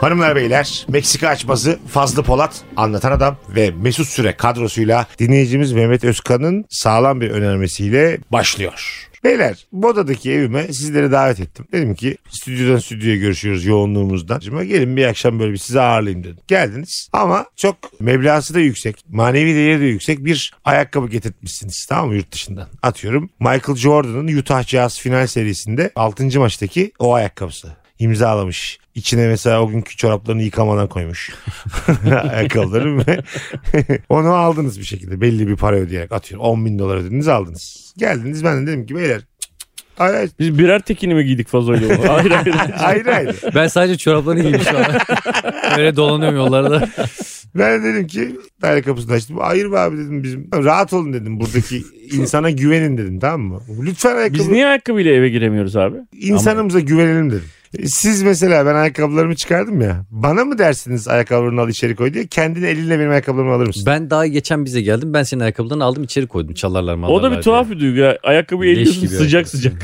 Hanımlar beyler Meksika açması Fazlı Polat anlatan adam ve Mesut Süre kadrosuyla dinleyicimiz Mehmet Özkan'ın sağlam bir önermesiyle başlıyor. Beyler Boda'daki evime sizleri davet ettim. Dedim ki stüdyodan stüdyoya görüşüyoruz yoğunluğumuzdan. Şimdi gelin bir akşam böyle bir sizi ağırlayayım dedim. Geldiniz ama çok meblası da yüksek, manevi değeri de yüksek bir ayakkabı getirtmişsiniz tamam mı yurt dışından. Atıyorum Michael Jordan'ın Utah Jazz final serisinde 6. maçtaki o ayakkabısı imzalamış. İçine mesela o günkü çoraplarını yıkamadan koymuş. Ayakkabıları ve onu aldınız bir şekilde belli bir para ödeyerek atıyorum. 10 bin dolar ödediniz aldınız. Geldiniz ben de dedim ki beyler cık cık, ayrı Biz birer tekini mi giydik fazoyla? Hayır hayır. ayrı. ayrı. Ben sadece çoraplarını giymiş şu an. Böyle dolanıyorum yollarda. Ben de dedim ki daire kapısını açtım. Hayır be abi dedim bizim. Rahat olun dedim buradaki insana güvenin dedim tamam mı? Lütfen ayakkabı. Biz niye ayakkabıyla eve giremiyoruz abi? İnsanımıza güvenelim dedim. Siz mesela ben ayakkabılarımı çıkardım ya. Bana mı dersiniz ayakkabılarını al içeri koy diye? Kendini elinle benim ayakkabılarımı alır mısın? Ben daha geçen bize geldim. Ben senin ayakkabılarını aldım içeri koydum çalarlar mı? O da bir tuhaf bir duygu. ya. Ayakkabıyı Leş eliyorsun gibi sıcak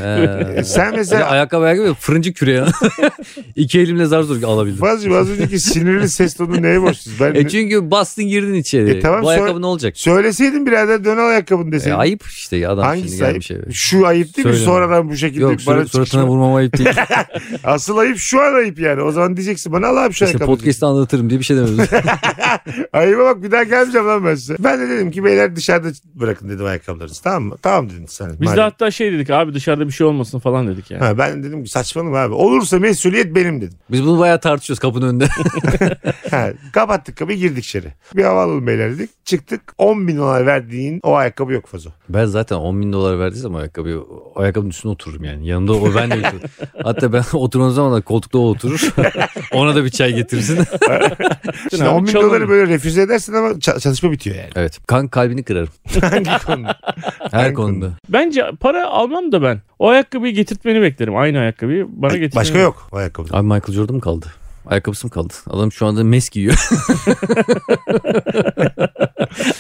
ayakkabı. sıcak. He. Sen Bir de mesela ayakkabı ayakkabı fırıncı küreği. İki elimle zar zor alabildim. Fazlacığım az önceki sinirli ses tonu neye borçluyuz? Ben E çünkü bastın girdin içeri. E tamam, Bu sonra- ayakkabı ne olacak? söyleseydin birader dön al ayakkabını E, deseydin. ayıp işte ya, adam şimdi Hangisi ayıp? gelmiş eve. Şu ayıp değil mi? Söyleme. Sonradan bu şekilde Yok bana sur- suratına çıkışma. vurmama ayıp değil. Asıl ayıp şu an ayıp yani. O zaman diyeceksin bana al abi şu işte ayakkabını. podcast'te anlatırım diye bir şey demedim. Ayıba bak bir daha gelmeyeceğim lan ben size. Ben de dedim ki beyler dışarıda bırakın dedim ayakkabılarınızı tamam mı? Tamam dedin sen. Biz de hatta şey dedik abi dışarıda bir şey olmasın falan dedik yani. Ha, ben dedim ki saçmalama abi. Olursa mesuliyet benim dedim. Biz bunu bayağı tartışıyoruz kapının önünde. Ha, kapattık kapıyı girdik içeri. Bir hava alalım beyler dedik. Çıktık 10 bin dolar verdiğin o ayakkabı yok fazo. ben zaten 10 bin dolar verdiysem ayakkabıyı o ayakkabının üstüne otururum yani. Yanımda o ben de otururum. Hatta ben oturduğum zaman da koltukta o oturur. Ona da bir çay getirsin. Şimdi abi, 10 bin çalın. doları böyle refüze edersin ama ça- çalışma bitiyor yani. evet. Kan kalbini kırarım. Hangi konuda? Her Hangi konuda. Bence para almam da ben. O ayakkabıyı getirtmeni beklerim. Aynı ayakkabıyı bana getirtmeni. Başka yok o ayakkabı. Abi Michael Jordan mı kaldı? Ayakkabısı mı kaldı? Adam şu anda mes giyiyor.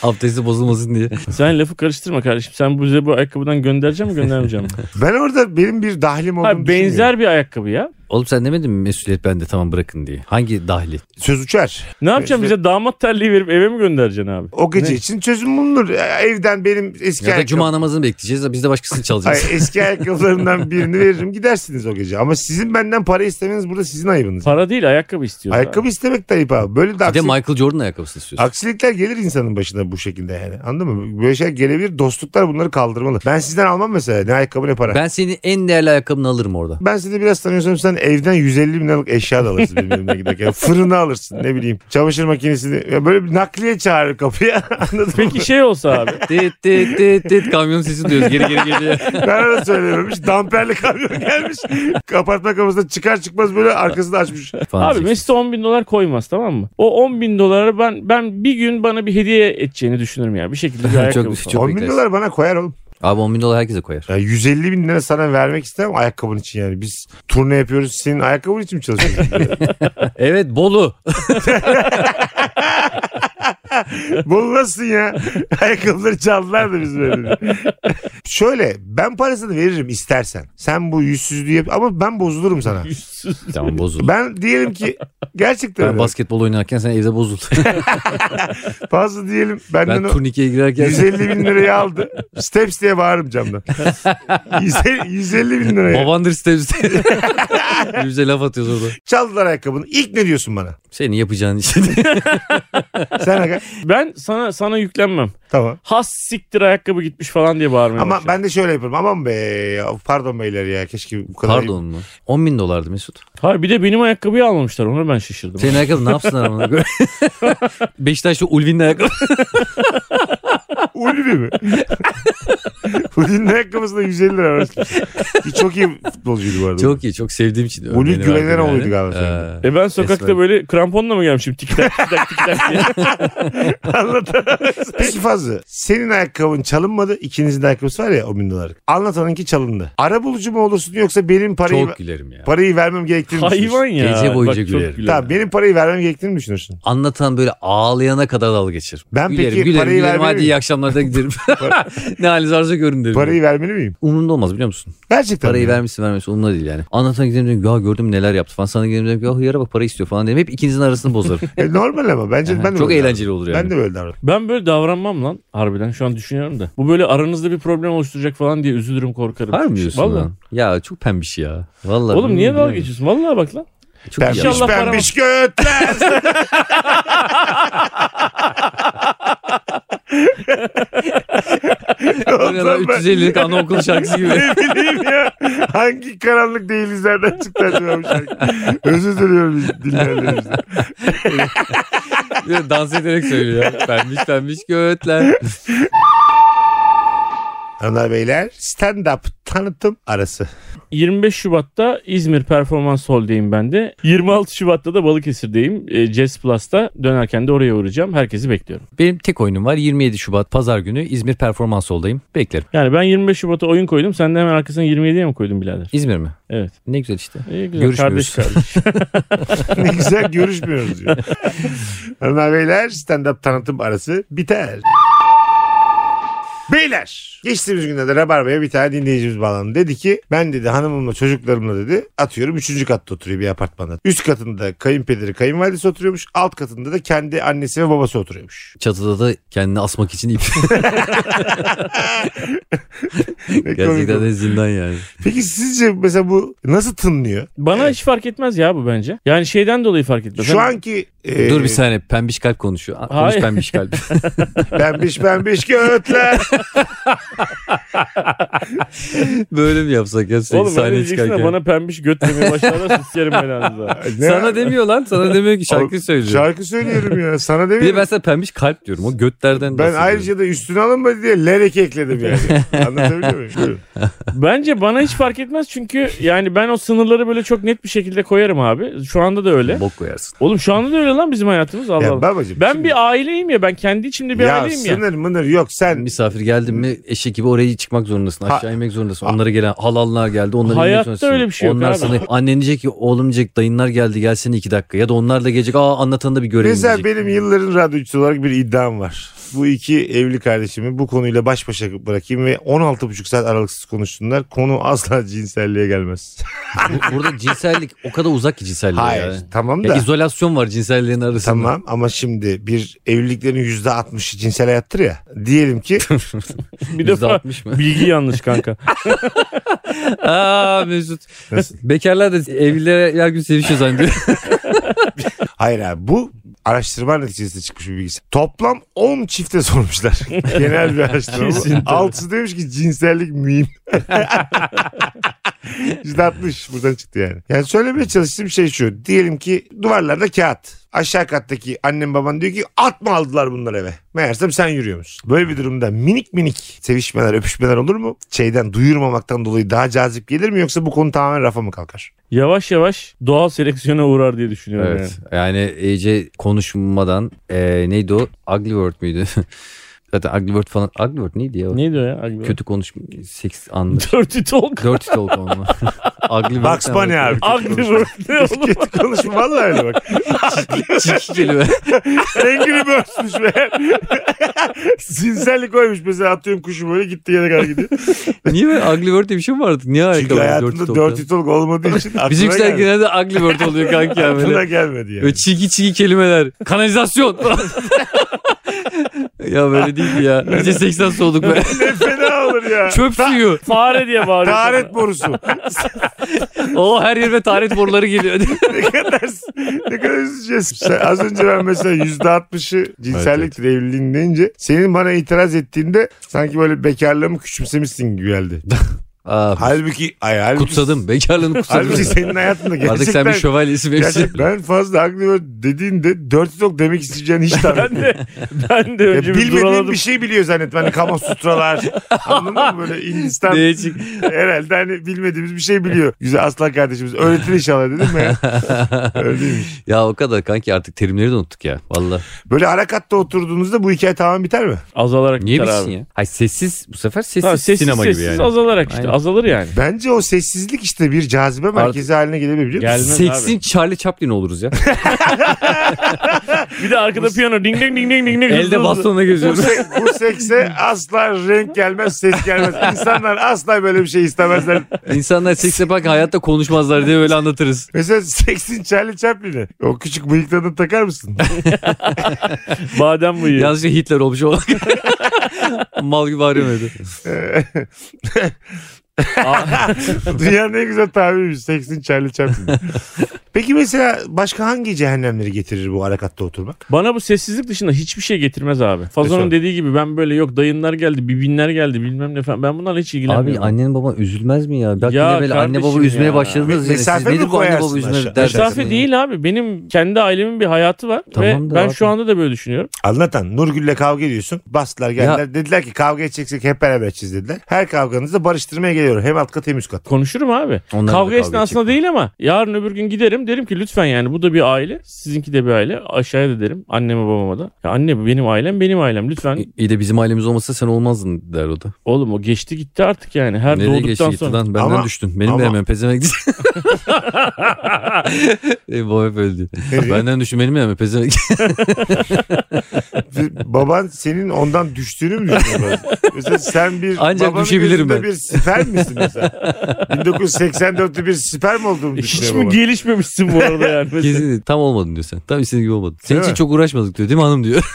Abdesti bozulmasın diye. Sen lafı karıştırma kardeşim. Sen bize bu ayakkabıdan göndereceğim mi göndermeyeceğim mi? Ben orada benim bir dahlim olduğunu Abi düşünmüyorum. benzer bir ayakkabı ya. Oğlum sen demedin mi mesuliyet bende tamam bırakın diye. Hangi dahli? Söz uçar. Ne yapacaksın bize damat terliği verip eve mi göndereceksin abi? O gece için çözüm bulunur. E, Evden benim eski Ya da ayakkabı- cuma namazını bekleyeceğiz de biz de başkasını çalacağız. Hayır, eski ayakkabılarımdan birini veririm gidersiniz o gece. Ama sizin benden para istemeniz burada sizin ayıbınız. Para değil ayakkabı istiyoruz. abi. Ayakkabı istemek de ayıp abi. Böyle de Bir de aksilik- Michael Jordan ayakkabısını istiyorsun. aksilikler gelir insanın başına bu şekilde yani. Anladın mı? Böyle şeyler gelebilir. Dostluklar bunları kaldırmalı. Ben sizden almam mesela. Ne ayakkabı ne para. Ben, Ben senin en değerli ayakkabını alırım orada. seni biraz tanıyorsam sen evden 150 bin liralık eşya da alırsın benim evime giderken. Fırını alırsın ne bileyim. Çamaşır makinesini. Ya böyle bir nakliye çağırır kapıya. Anladın mı? Peki şey olsa abi. tit tit tit tit kamyon sesi duyuyoruz geri geri geliyor. Ben de söylememiş. Damperli kamyon gelmiş. Kapartma kapısından çıkar çıkmaz böyle arkasını açmış. Falan Abi diyeceksin. Mesut'a 10 bin dolar koymaz tamam mı? O 10 bin doları ben ben bir gün bana bir hediye edeceğini düşünürüm ya. Bir şekilde bir Çok- ayakkabı çok- falan. 10 bin beklersin. dolar bana koyar oğlum. Abi 10 bin dolar herkese koyar. Ya 150 bin lira sana vermek istemem ayakkabın için yani. Biz turne yapıyoruz senin ayakkabın için mi çalışıyorsun? Evet Bolu. Bolu nasılsın ya? Ayakkabıları çaldılar da biz böyle. Şöyle ben parasını veririm istersen. Sen bu yüzsüzlüğü yap ama ben bozulurum sana. Yüzsüz. tamam bozuldu. Ben diyelim ki gerçekten Ben öyle. basketbol oynarken sen evde bozuldun. fazla diyelim benden ben o turnikeye girerken 150 bin lirayı aldı. Steps diye bağırırım camdan. 150, 150 bin lirayı. babandır sitemizde. Birbirimize laf atıyoruz orada. Çaldılar ayakkabını. İlk ne diyorsun bana? Senin yapacağın işi. Sen aga. Ben sana sana yüklenmem. Tamam. Has siktir ayakkabı gitmiş falan diye bağırmaya Ama başlarım. ben de şöyle yaparım. Aman be ya, pardon beyler ya keşke bu kadar. Pardon mu? 10 bin dolardı Mesut. Hayır bir de benim ayakkabıyı almamışlar. Onu ben şaşırdım. Senin ayakkabı ne yapsın ama? Beşiktaşlı Ulvin'in ayakkabı. Ulvi mi? Ulvi'nin ayakkabısında 150 lira var. Bir Çok iyi futbolcuydu bu arada. Çok iyi çok sevdiğim için. Ulvi örneğini güvenen verdim oluydu galiba Ee, E ben sokakta Esmer. böyle kramponla mı gelmişim tik tak tik tak tik tak diye. Peki Fazlı senin ayakkabın çalınmadı. İkinizin de ayakkabısı var ya o bin dolarlık. Anlatanınki çalındı. Ara bulucu mu olursun yoksa benim parayı çok gülerim ya. parayı vermem gerektiğini mi Hayvan düşünürsün? ya. Gece boyunca çok gülerim. Tamam benim parayı vermem gerektiğini mi düşünürsün? Anlatan böyle ağlayana kadar dalga geçir. Ben gülerim, peki gülerim, parayı gülerim. vermeye Hadi miyim? iyi akşamlar da giderim. ne haliniz varsa görün derim. Parayı vermeli miyim? Umurumda olmaz biliyor musun? Gerçekten. Parayı mi? vermişsin vermemişsin umurumda değil yani. Anlatan gidelim dedim ya gördüm neler yaptı falan. Sana gidelim dedim ya hıyara "Oh, bak para istiyor falan dedim. Hep ikinizin arasını bozarım. E, normal ama bence ben de Çok böyle eğlenceli olur davranırım. Ben yani. de böyle davranırım. Ben böyle davranmam lan harbiden şu an düşünüyorum da. Bu böyle aranızda bir problem oluşturacak falan diye üzülürüm korkarım. Var mı diyorsun Vallahi. lan? Ya çok pembiş ya. Vallahi. Oğlum niye bilmiyorum dalga yani. geçiyorsun? Vallahi bak lan. Çok iyi Pembiş ya. İnşallah para pembiş götler. Bu ne lan? 350'lik anaokul şarkısı gibi. Ne bileyim ya. Hangi karanlık değilizlerden çıktı acaba bu şarkı? Özür diliyorum biz dinleyenlerimizden. Bir de Dans ederek söylüyor. ya. Pembiş pembiş götler. Hanımlar beyler stand-up tanıtım arası. 25 Şubat'ta İzmir Performans Hall'deyim ben de. 26 Şubat'ta da Balıkesir'deyim. E, Jazz Plus'ta dönerken de oraya uğrayacağım. Herkesi bekliyorum. Benim tek oyunum var. 27 Şubat Pazar günü İzmir Performans Hall'dayım. Beklerim. Yani ben 25 Şubat'a oyun koydum. Sen de hemen arkasına 27'ye mi koydun birader? İzmir mi? Evet. Ne güzel işte. İyi güzel. Görüşmüyoruz. Kardeş kardeş. Ne güzel görüşmüyoruz diyor. Hanımlar beyler stand-up tanıtım arası biter. Beyler geçtiğimiz günlerde Rabarba'ya bir tane dinleyicimiz bağlandı. Dedi ki ben dedi hanımımla çocuklarımla dedi atıyorum 3. katta oturuyor bir apartmanda. Üst katında kayınpederi kayınvalidesi oturuyormuş. Alt katında da kendi annesi ve babası oturuyormuş. Çatıda da kendini asmak için ip. Ne komik Gerçekten oldu. de zindan yani. Peki sizce mesela bu nasıl tınlıyor? Bana hiç fark etmez ya bu bence. Yani şeyden dolayı fark etmez. Şu Hani- anki e, Dur bir saniye pembiş kalp konuşuyor. Aa, Konuş Hayır. pembiş kalp. pembiş pembiş göğütler. Böyle mi yapsak ya sürekli Oğlum ben sahneye diyeceksin de çıkarken? bana pembiş göt demeye başlarlarsa sikerim ben ağzına. Ne? Sana demiyor lan. Sana demiyor ki Oğlum, şarkı söylüyor. Şarkı söylüyorum ya. Sana Bir de demiyorum. ben sana pembiş kalp diyorum. O götlerden Ben bahsediyorum. ayrıca da üstüne alınmadı diye lerek ekledim yani. Anlatabiliyor muyum? Buyurun. Bence bana hiç fark etmez çünkü yani ben o sınırları böyle çok net bir şekilde koyarım abi. Şu anda da öyle. Bok koyarsın. Oğlum şu anda da öyle lan bizim hayatımız Allah Ya Allah. babacım. Ben şimdi- bir aileyim ya ben kendi içimde bir ya aileyim ya. sınır mınır yok sen Misafir geldi mi eşek gibi oraya çıkmak zorundasın. Ha- Aşağı inmek zorundasın. Onlara gelen halallar geldi. Onları Hayatta inmek zorundasın. öyle bir şey yok Onlar abi. sana annen diyecek ki oğlum diyecek dayınlar geldi gelsene iki dakika. Ya da onlar da gelecek. Aa anlatanı da bir görelim Mesela diyecek. benim yılların radyocusu olarak bir iddiam var. Bu iki evli kardeşimi bu konuyla baş başa bırakayım ve 16,5 saat aralıksız konuşsunlar. Konu asla cinselliğe gelmez. Bu- burada cinsellik o kadar uzak ki cinselliğe. Hayır. Ya. Tamam da. Ya izolasyon var cinselliğin arasında. Tamam ama şimdi bir evliliklerin yüzde altmışı cinsel hayattır ya. Diyelim ki Bir defa %60 mı? bilgi yanlış kanka. Aa Mesut. Nasıl? Bekarlar da evlilere her gün sevişiyor zannediyor. hayır abi bu araştırma neticesinde çıkmış bir bilgisi. Toplam 10 çifte sormuşlar. Genel bir araştırma. Kesin bu. Altısı demiş ki cinsellik mühim. Yüzde altmış buradan çıktı yani. Yani söylemeye çalıştığım şey şu. Diyelim ki duvarlarda kağıt. Aşağı kattaki annem baban diyor ki at mı aldılar bunlar eve? Meğersem sen yürüyormuşsun. Böyle bir durumda minik minik sevişmeler öpüşmeler olur mu? Şeyden duyurmamaktan dolayı daha cazip gelir mi yoksa bu konu tamamen rafa mı kalkar? Yavaş yavaş doğal seleksiyona uğrar diye düşünüyorum yani. evet. Yani iyice konuşmadan e, neydi o? Ugly word müydü? Zaten ugly word falan. Ugly word neydi ya? o? Neydi o ya? Agbe? Kötü konuşma. Seks anlı. Dirty talk. Dirty talk olma. ugly word. Bugs Bunny abi. Agbe ne oğlum? Kötü konuşma vallahi öyle bak. Çirkin kelime. Angry Birds'müş meğer. Cinsellik koymuş mesela atıyorum kuşu böyle gitti yere kadar gidiyor. Niye böyle ugly word diye bir şey mi vardı? Niye harika Çünkü var hayatımda talk ya? dirty talk olmadığı için aklına Bizimkiler gelmedi. genelde ugly word oluyor kanka ya böyle. Aklına gelmedi yani. Böyle çirkin çirkin kelimeler. Kanalizasyon. ya böyle değil ya. İyice 80 soğuduk be. ne fena olur ya. Çöp suyu. Fare diye bağırıyor. Taharet borusu. O her yerime taharet boruları geliyor. ne kadar ne kadar üzeceğiz. Sen- az önce ben mesela yüzde altmışı cinselliktir evliliğin deyince senin bana itiraz ettiğinde sanki böyle bekarlığımı küçümsemişsin gibi geldi. Aa, halbuki ay, halbuki, kutsadım. Bekarlığını kutsadım. Halbuki senin hayatında gerçekten. Artık sen bir şövalyesin. hepsi. Gerçek, ben fazla aklıma dediğinde dirty talk demek isteyeceğini hiç tahmin Ben de, ben de Ya önce bir bilmediğim duraladım. bir şey biliyor zannet. Hani kama sutralar. Anladın mı? Böyle Hindistan Değişik. herhalde hani bilmediğimiz bir şey biliyor. Güzel aslan kardeşimiz. Öğretir inşallah dedim mi? ya? Öyleymiş. Ya o kadar kanki artık terimleri de unuttuk ya. Valla. Böyle arakatta oturduğunuzda bu hikaye tamamen biter mi? Azalarak Niye biter bilsin abi. ya? Hayır sessiz bu sefer sessiz, Tamam, sessiz sinema sessiz gibi yani. azalarak işte Aynen. azalır yani. Bence o sessizlik işte bir cazibe merkezi haline gelebilir biliyor musun? Gelmez Seksin Charlie Chaplin oluruz ya. abi. Bir de arkada piyano ding ding ding ding ding. ding. Elde bastonla Bu, geziyoruz. se- bu sekse asla renk gelmez, ses gelmez. İnsanlar asla böyle bir şey istemezler. İnsanlar seks yaparken hayatta konuşmazlar diye öyle anlatırız. Mesela seksin Charlie Chaplin'i. O küçük bıyıklarını takar mısın? Badem bıyığı. Yalnızca Hitler olmuş olarak. Mal gibi arıyordu. Ee, Dünyanın en güzel tabiriymiş. Seksin Charlie Chaplin. Peki mesela başka hangi cehennemleri getirir bu harekatta oturmak? Bana bu sessizlik dışında hiçbir şey getirmez abi. Mesela? Fazon'un dediği gibi ben böyle yok dayınlar geldi, bibinler geldi bilmem ne falan. Ben bunlarla hiç Abi ilgilenmiyorum. annen baban üzülmez mi ya? Bak Ya yine böyle anne baba kardeşim üzmeye ya. Me- başladınız. yine. Siz mesafe mi nedir bu anne koyarsın baba üzme aşağı? derdiniz? Mesafe değil abi. Benim kendi ailemin bir hayatı var. Tamam ve da ben abi. şu anda da böyle düşünüyorum. Anlatan Nurgül'le kavga ediyorsun. Bastılar geldiler. Dediler ki kavga edeceksek hep beraber edeceğiz dediler. Her kavganızda barıştırmaya geliyorum. Hem alt kat hem üst kat. Konuşurum abi. Onlarla kavga da kavga esnasında edecek. değil ama yarın öbür gün giderim derim ki lütfen yani bu da bir aile. Sizinki de bir aile. Aşağıya da derim anneme babama da. Ya anne bu benim ailem benim ailem lütfen. İyi- İyi de bizim ailemiz olmasa sen olmazdın der o da. Oğlum o geçti gitti artık yani. Her Nereye geçti doğduktan gitti sonra. lan? Benden Ama- düştün. Benim ama- de hemen pezemek e, bu hep öldü. Ne diyor? Benden düştün benim de hemen pezemek Baban senin ondan düştüğünü mü düşünüyor? mesela sen bir Ancak babanın düşebilirim gözünde ben. bir siper misin mesela? 1984'lü bir siper mi olduğumu E, Hiç düşünüyor mi baban? gelişmemişsin bu arada yani? Mesela. Kesin tam olmadın diyor sen. Tam istediğin gibi olmadın. Senin Değil için mi? çok uğraşmadık diyor değil mi hanım diyor.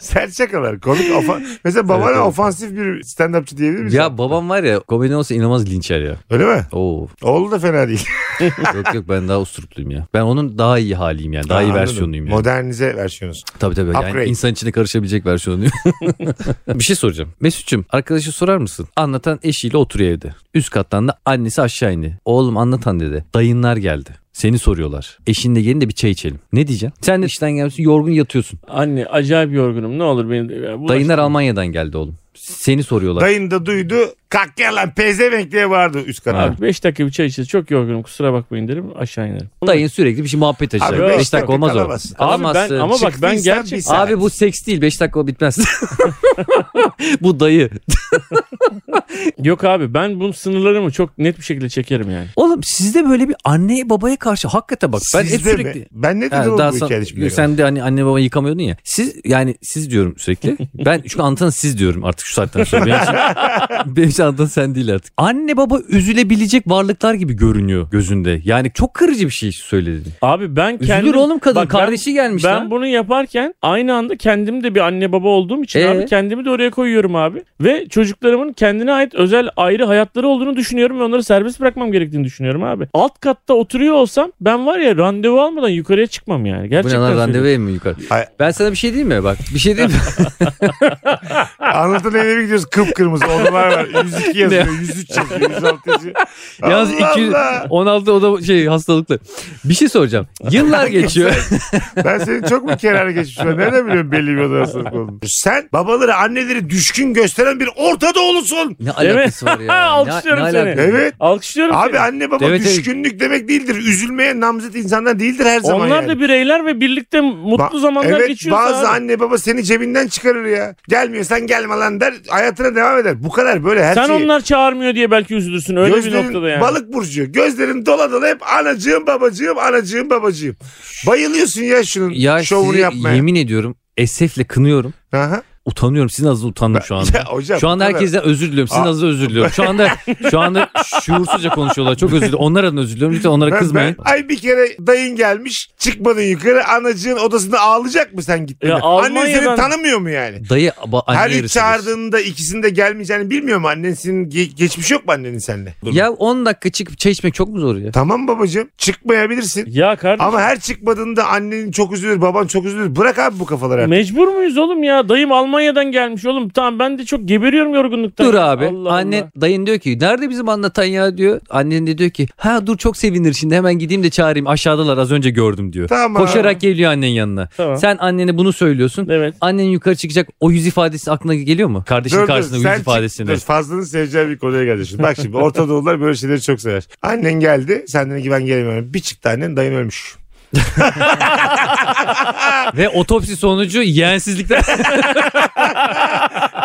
Sert şakalar. Komik ofa... Mesela babana evet. ofansif bir stand-upçı diyebilir misin? ya babam var ya komedi olsa inanılmaz linçer ya. Öyle mi? Oo. Oğlu da fena değil. yok yok ben daha usturupluyum ya. Ben onun daha iyi haliyim yani. Daha iyi Anladım. versiyonuyum yani. Modernize versiyonuz. Tabii tabii. Yani Upgrade. insan içine karışabilecek versiyonuyum. bir şey soracağım. Mesut'cum arkadaşı sorar mısın? Anlatan eşiyle oturuyor evde. Üst kattan da annesi aşağı indi. Oğlum anlatan dedi. Dayınlar geldi. Seni soruyorlar. Eşinle gelin de bir çay içelim. Ne diyeceksin? Sen de işten gelmişsin yorgun yatıyorsun. Anne acayip yorgunum ne olur beni. Bulaştırma. Dayınlar Almanya'dan geldi oğlum. Seni soruyorlar. Dayın da duydu. Kalk gel lan pezevenk diye bağırdı üst kata. Ha. Abi, Abi 5 dakika bir çay içeceğiz. Çok yorgunum kusura bakmayın derim aşağı inerim. Dayın sürekli bir şey muhabbet açacak. Abi beş 5 dakika, dakika olmaz o. kalamazsın. Abi ben Kalamazsın. ama bak ben Çıktıysan gerçek bir saat. Abi bu seks değil 5 dakika o bitmez. bu dayı. yok abi ben bunun sınırlarımı çok net bir şekilde çekerim yani. Oğlum sizde böyle bir anneye babaya karşı hakikaten bak ben hep Sizde mi? sürekli. Ben ne Ha, dedim daha bu son- hikayede şimdi? sen de hani anne baba yıkamıyordun ya. Siz yani siz diyorum sürekli. Ben çünkü Antan siz diyorum artık şu saatten sonra. Benim için, benim için Antan sen değil artık. Anne baba üzülebilecek varlıklar gibi görünüyor gözünde. Yani çok kırıcı bir şey söyledin. Abi ben Üzülür kendim oğlum kadın Bak ben- kardeşi gelmiş ben lan. bunu yaparken aynı anda kendim de bir anne baba olduğum için Ee? abi kendimi de oraya koyuyorum abi. Ve çocuklarımın kendine ait özel ayrı hayatları olduğunu düşünüyorum ve onları serbest bırakmam gerektiğini düşünüyorum abi. Alt katta oturuyor olsam ben var ya randevu almadan yukarıya çıkmam yani. Bu ne Gerçekten lan randevu söylüyorum. evi mi yukarı? Ay- Ben sana bir şey diyeyim mi? Bak bir şey diyeyim mi? Anlatan evine gidiyoruz kıpkırmızı odalar var. 102 yazıyor, 103 yazıyor, 106 yazıyor. Yalnız Allah 200 Allah. 16 o da şey hastalıklı. Bir şey soracağım. Yıllar geçiyor. Ben senin çok mu kenara geçmişim? Nereden biliyorum belli bir odasın konu? Sen babaları anneleri düşkün gösteren bir Orta Doğulusun. Değil ne mi? alakası var ya? Ne- Alkışlıyorum ne seni. alakası? Evet. Alkışlıyorum Abi seni. anne baba Evet, evet. düşkünlük demek değildir. Üzülmeye namzet insanlar değildir her zaman Onlar yani. da bireyler ve birlikte mutlu Ba- zamanlar evet, geçiyorsa bazı abi. anne baba seni cebinden çıkarır ya. Gelmiyorsan gelme lan der. Hayatına devam eder. Bu kadar böyle her Sen şeyi. onlar çağırmıyor diye belki üzülürsün. Öyle bir noktada yani. balık burcu. Gözlerin dola dola hep anacığım babacığım anacığım babacığım. Bayılıyorsun ya şunun Ya şovunu sizi yapmaya. yemin ediyorum esefle kınıyorum. Aha. Utanıyorum. Sizin adınıza utandım şu anda. Ya hocam, Şu anda bu kadar- herkesten özür diliyorum. Sizin Aa. adınıza özür diliyorum. Şu anda şu anda şuursuzca konuşuyorlar. Çok özür diliyorum. Onlar adına özür diliyorum. Lütfen onlara Ben- kızmayın. ben- ay bir kere dayın gelmiş çıkmadın yukarı anacığın odasında ağlayacak mı sen gittin? Ya Annen seni Almanya'dan- tanımıyor mu yani? Dayı ba- anne Her üç yarısı diyorsun. çağırdığında ikisinin de gelmeyeceğini bilmiyor mu? Annen senin ge- geçmiş yok mu annenin seninle? Ya 10 dakika çıkıp çay içmek çok mu zor ya? Tamam babacığım çıkmayabilirsin. Ya kardeşim Ama her çıkmadığında annenin çok üzülür, baban çok üzülür. Bırak abi bu kafaları artık. mecbur muyuz oğlum ya? Dayım Almanya'dan gelmiş oğlum. Tamam ben de çok geberiyorum yorgunluktan. Dur abi. Allah Annen Allah. dayın diyor ki nerede bizim anlatan ya diyor. Annen de diyor ki ha dur çok sevinir şimdi hemen gideyim de çağırayım. Aşağıdalar az önce gördüm diyor. Tamam. Koşarak geliyor annen yanına. Tamam. Sen annene bunu söylüyorsun. Evet. Annen yukarı çıkacak o yüz ifadesi aklına geliyor mu? Kardeşin karşısında sen yüz çık- ifadesini. dur, Fazlının seveceği bir konuya geldi şimdi. Bak şimdi Orta Doğulular böyle şeyleri çok sever. Annen geldi. Sen dedin ki ben gelemiyorum. Bir çıktı annen dayın ölmüş. Ve otopsi sonucu yeğensizlikten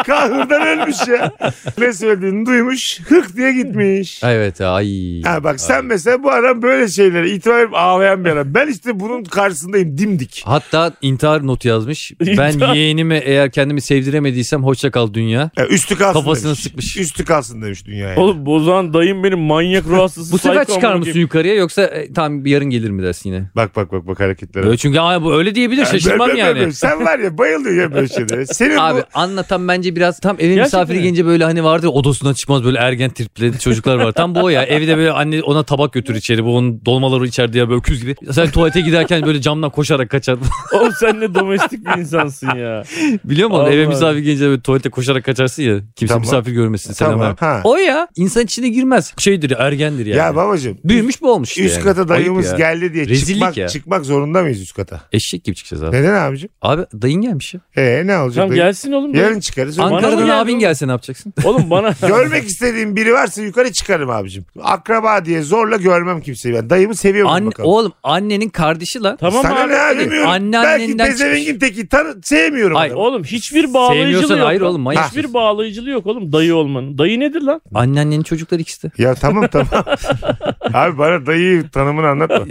Kahırdan ölmüş ya. Ne söylediğini duymuş. Hık diye gitmiş. Evet ay. Ha bak sen mesela bu adam böyle şeylere itibar edip ağlayan bir adam. Ben işte bunun karşısındayım dimdik. Hatta intihar notu yazmış. İntihar. Ben yeğenime eğer kendimi sevdiremediysem hoşça kal dünya. Ya E, üstü kalsın Kafasını demiş. sıkmış. Üstü kalsın demiş dünyaya. Oğlum bozan dayım benim manyak ruh hastası. Bu sefer psycho çıkar amına mısın koyayım. yukarıya yoksa e, tam yarın gelir mi dersin yine? Bak bak bak bak hareketlere. Böyle çünkü ama bu öyle diyebilir şaşırmam Ben- ben- ben- yani. ben- Sen var ya bayılıyor ya böyle şeylere. Senin Abi bu anlatan bence biraz tam eve Gerçekten misafiri mi? gelince böyle hani vardır ya, odasından çıkmaz böyle ergen tripleri çocuklar var. Tam bu o ya. Evde böyle anne ona tabak götür içeri. Bu onun dolmaları içeride ya böyle öküz gibi. Sen tuvalete giderken böyle camdan koşarak kaçar. Oğlum sen ne domestik bir insansın ya. Biliyor musun? Allah. Eve misafir gelince böyle tuvalete koşarak kaçarsın ya. Kimse Tamam. misafir görmesin. Selam Tamam, ver. ha. O ya. insan içine girmez. Şeydir ya, ergendir yani. ya babacığım. Büyümüş bu olmuş işte Üst yani. kata Ayıp dayımız ya. geldi diye Rezillik çıkmak, ya. çıkmak zorunda mıyız üst kata? Eşek gibi çıkacağız abi. Neden abicim? Abi dayın gelmiş ya. Ee ne olacak? Tamam Dayı- gelsin oğlum. Yarın çıkarız. mı Ankara'dan geldi abin o? gelse ne yapacaksın? Oğlum bana. Görmek istediğim biri varsa yukarı çıkarım abicim. Akraba diye zorla görmem kimseyi ben. Dayımı seviyorum Anne, bakalım. oğlum annenin kardeşi lan. Tamam Sana abi. ne abi bilmiyorum. Belki Anneannenden pezevengin teki tanı sevmiyorum. Hayır, adamı. Oğlum hiçbir bağlayıcılığı Sevmiyorsan yok. hayır lan. oğlum, manyak Hiçbir mısın? bağlayıcılığı yok oğlum dayı olmanın. Dayı nedir lan? Anneannenin çocukları ikisi de. Ya tamam tamam. abi bana dayı tanımını anlatma.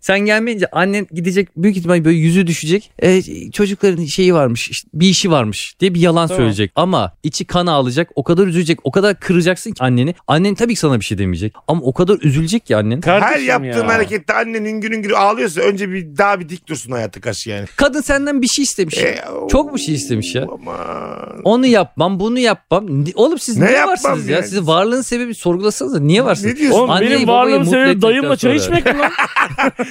Sen gelmeyince annen gidecek büyük ihtimal böyle yüzü düşecek. E, çocukların şeyi varmış işte bir işi varmış diye bir yalan Tamam. söyleyecek. Ama içi kan ağlayacak o kadar üzülecek o kadar kıracaksın ki anneni. Annen tabii ki sana bir şey demeyecek. Ama o kadar üzülecek ki annen. Her Kardeşim yaptığın ya. harekette annenin günün günü ağlıyorsa önce bir daha bir dik dursun hayatı karşı yani. Kadın senden bir şey istemiş. E, Çok bir şey istemiş ya. Aman. Onu yapmam bunu yapmam. Ni- Oğlum siz Ne niye yapmam varsınız ya? yani? Sizin varlığın sebebi sorgulasanıza. Niye varsınız? Ne diyorsun? Oğlum Anneyi, benim babayı varlığım mutlu sebebi ettikten dayımla çay sonra. içmek mi lan?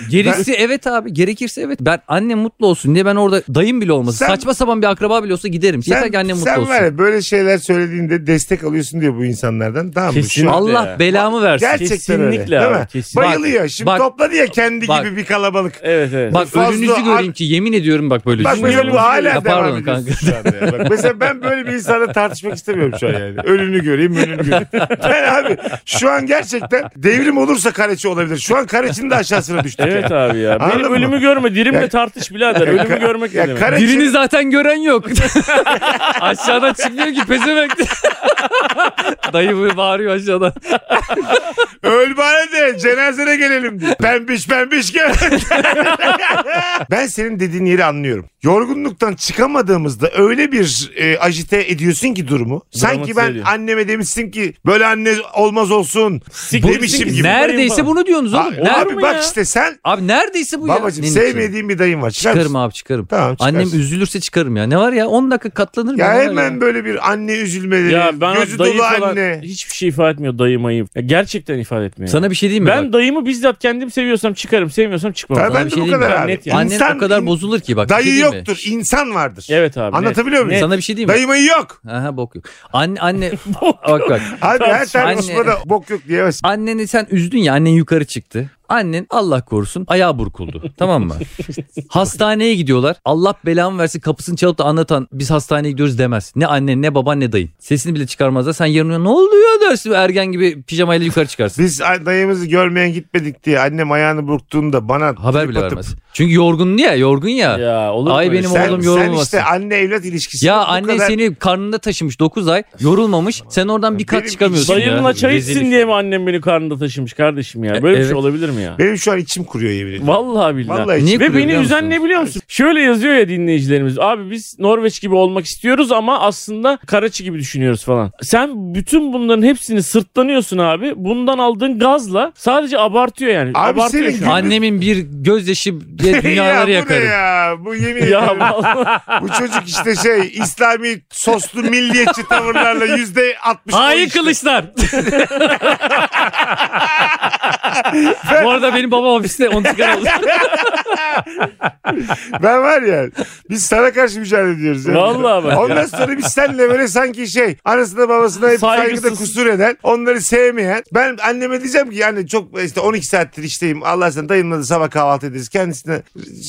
Gerisi evet abi. Gerekirse evet. Ben annem mutlu olsun diye ben orada dayım bile olmasın. Sen- saçma sapan bir akraba bile olsa giderim. Yeter ki annem mutlu sen olsun. var ya böyle şeyler söylediğinde destek alıyorsun diyor bu insanlardan. Tamam mı? Kesin. Şu an- Allah Ya. belamı versin. Gerçekten öyle. Kesinlikle Değil abi, mi? kesinlikle. Bayılıyor. Şimdi Bak- topladı ya kendi bak- gibi bir kalabalık. Evet evet. Bak Fazla önünüzü ar- göreyim ki yemin ediyorum bak böyle Bak Ee, düşünüyorum. mesela bu hala devam Ya pardon ediyorsun kanka. şu anda ya. Bak mesela ben böyle bir insanla tartışmak istemiyorum şu an yani. Önünü göreyim, önünü göreyim. Ben abi şu an gerçekten devrim olursa Kareçi olabilir. Şu an Kareç'in de aşağısına düştük Evet ya. abi ya. Anladın Benim mı? ölümü görme. Dirimle tartış birader. Ölümü ka- görmek ya ne demek? Kareçi- Birini zaten gören yok. Aşağıdan çıkmıyor ki pezevenk. Dayı böyle bağırıyor aşağıdan. Öl bari de cenazene gelelim diye. Pembiş pembiş gel. ben senin dediğin yeri anlıyorum. Yorgunluktan çıkamadığımızda öyle bir e, ajite ediyorsun ki durumu. Sanki Dramatize ben ediyor. anneme demişsin ki böyle anne olmaz olsun. Siktir Demişim git. gibi. Neredeyse bunu diyorsunuz oğlum. Abi, Nerede- abi mı bak ya? işte sen Abi neredeyse bu babacım ya. Benim için. sevmediğin bir dayın var. Çıkar mısın? Çıkarım abi çıkarım. Tamam çıkarsın. Annem üzülürse çıkarım ya. Ne var ya 10 dakika katlanır Ya mı? hemen böyle bir anne üzülmeleri, Ya ben Ee, gözü dayı dolu falan anne. hiçbir şey ifade etmiyor dayı mayı. Ya gerçekten ifade etmiyor. Sana bir şey diyeyim mi? ben bak? dayımı bizzat kendim seviyorsam çıkarım, sevmiyorsam çıkmam. Tabii. Sana ben bir de şey bu diyeyim mi? kadar abi. abi. Annen İnsan- o kadar in- bozulur ki bak. bir şey Dayı diyeyim mi? yoktur, insan vardır. Evet abi. Anlatabiliyor muyum? Sana bir şey diyeyim mi? Dayı mayı yok. Aha bok yok. Anne anne bak bak. Abi her Anne. tartışmada bok yok diyemezsin. Anneni sen üzdün ya annen yukarı çıktı. Annen Allah korusun ayağı burkuldu tamam mı? Hastaneye gidiyorlar. Allah belamı versin kapısını çalıp da anlatan biz hastaneye gidiyoruz demez. Ne annen ne baban ne dayın. Sesini bile çıkarmazlar. Sen yarın uyan, ne oluyor dersin ergen gibi pijamayla yukarı çıkarsın. Biz dayımızı görmeyen gitmedik diye annem ayağını burktuğunda bana Haber trip bile atıp- vermez. Çünkü yorgun ya yorgun ya. Ya, Ya olur Ay mu öyle benim şey? Sen, Oğlum sen yorulmasın. işte anne evlat ilişkisi. bu annen kadar- seni karnında taşımış 9 ay yorulmamış. Sen oradan bir Benim kat çıkamıyorsun ya. Dayımla çay içsin Rezillik. diye mi annem beni karnında taşımış kardeşim ya? Böyle bir E, Evet. şey olabilir mi ya? Benim şu an içim kuruyor yemin ediyorum. Vallahi billahi. Vallahi Niye içim- Ve kuruyor beni biliyor musun? üzen ne biliyor musun? Şöyle yazıyor ya dinleyicilerimiz. Abi biz Norveç gibi olmak istiyoruz ama aslında Karaçi gibi düşünüyoruz falan. Sen bütün bunların hepsini sırtlanıyorsun abi. Bundan aldığın gazla sadece abartıyor yani. Abi abartıyor senin şu an. Annemin bir gözyaşı diye dünyaları ya, bu ne yakarım. ya? Bu yemin Ya ediyorum. vallahi. Bu çocuk işte şey İslami soslu milliyetçi tavırlarla yüzde altmış. Hain kılıçlar. Bu arada benim babam ofiste onu çıkar oldu. Ben var ya biz sana karşı mücadele ediyoruz. ya. Vallahi bak ya. Ondan sonra biz senle böyle sanki şey anasına babasına hep Saygısız. saygıda kusur eden onları sevmeyen. Ben anneme diyeceğim ki yani çok işte 12 saattir işteyim Allah sen dayımla da sabah kahvaltı ederiz. Kendisine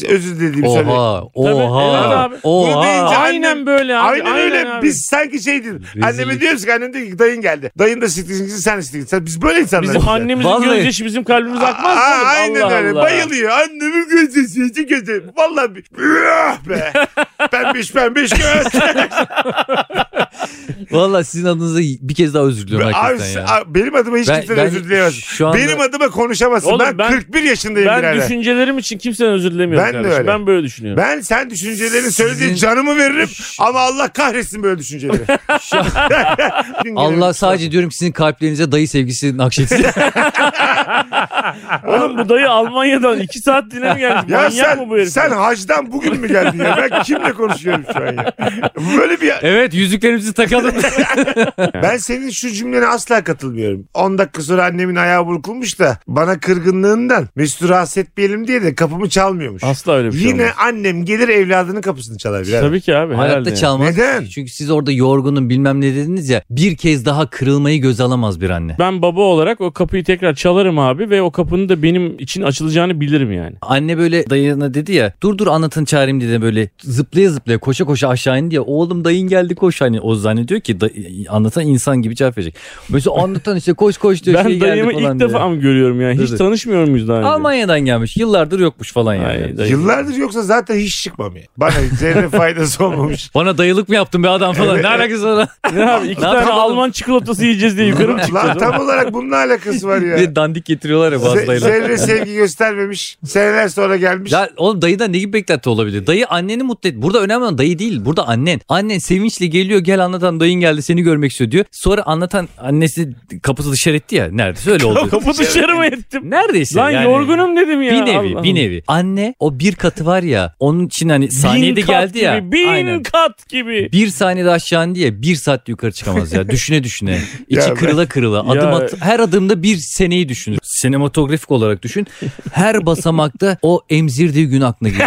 özür dilediğimi söyle. Oha, evet oha, abi. Bunu deyince- oha. aynen böyle abi. Aynen, öyle. abi. Biz sanki şey dedim. Rezillik. Anneme diyoruz ki annem diyor ki dayın geldi. Dayın da siktirsin sen de siktirsin. Biz böyle insanlarız. Bizim ya. annemizin Vallahi. gözyaşı bizim kalbimiz akmaz mı? Aa, oğlum? Aynen Allah öyle. Allah. Bayılıyor. Annemin gözü sizi gözü. Vallahi bir... Üah be. Pembiş pembiş göz. Valla sizin adınıza bir kez daha özür diliyorum Abi, hakikaten ya. abi, benim adıma hiç Ben- kimse ben özür dileyemez. şu anda- Benim adıma konuşamazsın. Oğlum ben, ben- 41 yaşındayım Ben birader. düşüncelerim için kimseden özür dilemiyorum Ben de kardeşim. öyle. Ben böyle düşünüyorum. Ben sen düşüncelerini söylediğin Sizin- canımı veririm ama Allah kahretsin böyle düşünceleri. Allah sadece diyorum ki sizin kalplerinize dayı sevgisi nakşetsin. Oğlum bu dayı Almanya'dan 2 saat dinle mi gelmiş? ya Manyak sen, mı bu herif? sen hacdan bugün mü geldin ya? Ben kimle konuşuyorum şu an ya? Böyle bir evet yüzüklerimizi takalım. Ben senin şu cümlene asla katılmıyorum. 10 dakika sonra annemin ayağı burkulmuş da bana kırgınlığından Mesut'u rahatsız etmeyelim diye de kapımı çalmıyormuş. Asla öyle bir şey Yine olmaz. annem gelir evladının kapısını çalar. birader. Tabii ki abi herhalde. Hayatta çalmaz. Neden? Çünkü siz orada yorgunum bilmem ne dediniz ya. Bir kez daha kırılmayı göz alamaz bir anne. Ben baba olarak o kapıyı tekrar çalarım abi ve o kapının da benim için açılacağını bilirim yani. Anne böyle dayına dedi ya dur dur anlatın çağırayım dedi böyle zıplaya zıplaya koşa koşa aşağı indi ya oğlum dayın geldi koş hani o zannediyor ki day- anlatan insan gibi cevap verecek. Mesela anlatan işte koş koş diyor ben şey dayımı geldi falan ilk diyor. defa mı görüyorum yani? Hiç Tabii. tanışmıyor muyuz daha önce? Almanya'dan gelmiş yıllardır yokmuş falan yani. Ay, dayı. Yıllardır yoksa zaten hiç çıkmam ya. Bana zerre faydası olmamış. Bana dayılık mı yaptın be adam falan ne alakası var? Ne abi iki Lan tane tamam. Alman çikolatası yiyeceğiz diye yukarı mı Lan çıkacağız? tam olarak bunun ne alakası var ya? Bir de dandik getiriyorlar ya bazı Se- dayılar. zerre sevgi göstermemiş. Seneler sonra gelmiş. Ya oğlum dayıdan ne gibi beklenti olabilir? Dayı anneni mutlu et. Burada önemli olan dayı değil. Burada annen. Annen sevinçle geliyor gel anlatan dayın geldi seni görmek istiyor diyor. Sonra anlatan annesi kapısı dışarı etti ya. Neredeyse öyle oldu. Kapı dışarı mı ettim? Neredeyse Lan Şey, yani. yorgunum dedim ya. Bir nevi Allah'ım. bir nevi. Anne o bir katı var ya onun için hani saniyede kat geldi ya. Gibi, bin Aynen. kat gibi. Bir saniyede aşağı diye bir saat yukarı çıkamaz ya. Düşüne düşüne. İçi Ya ben- kırıla kırıla. Adım Ya- at, her adımda bir seneyi düşünür. Sinematografik olarak düşün. Her basamakta o emzirdiği gün aklına gelir.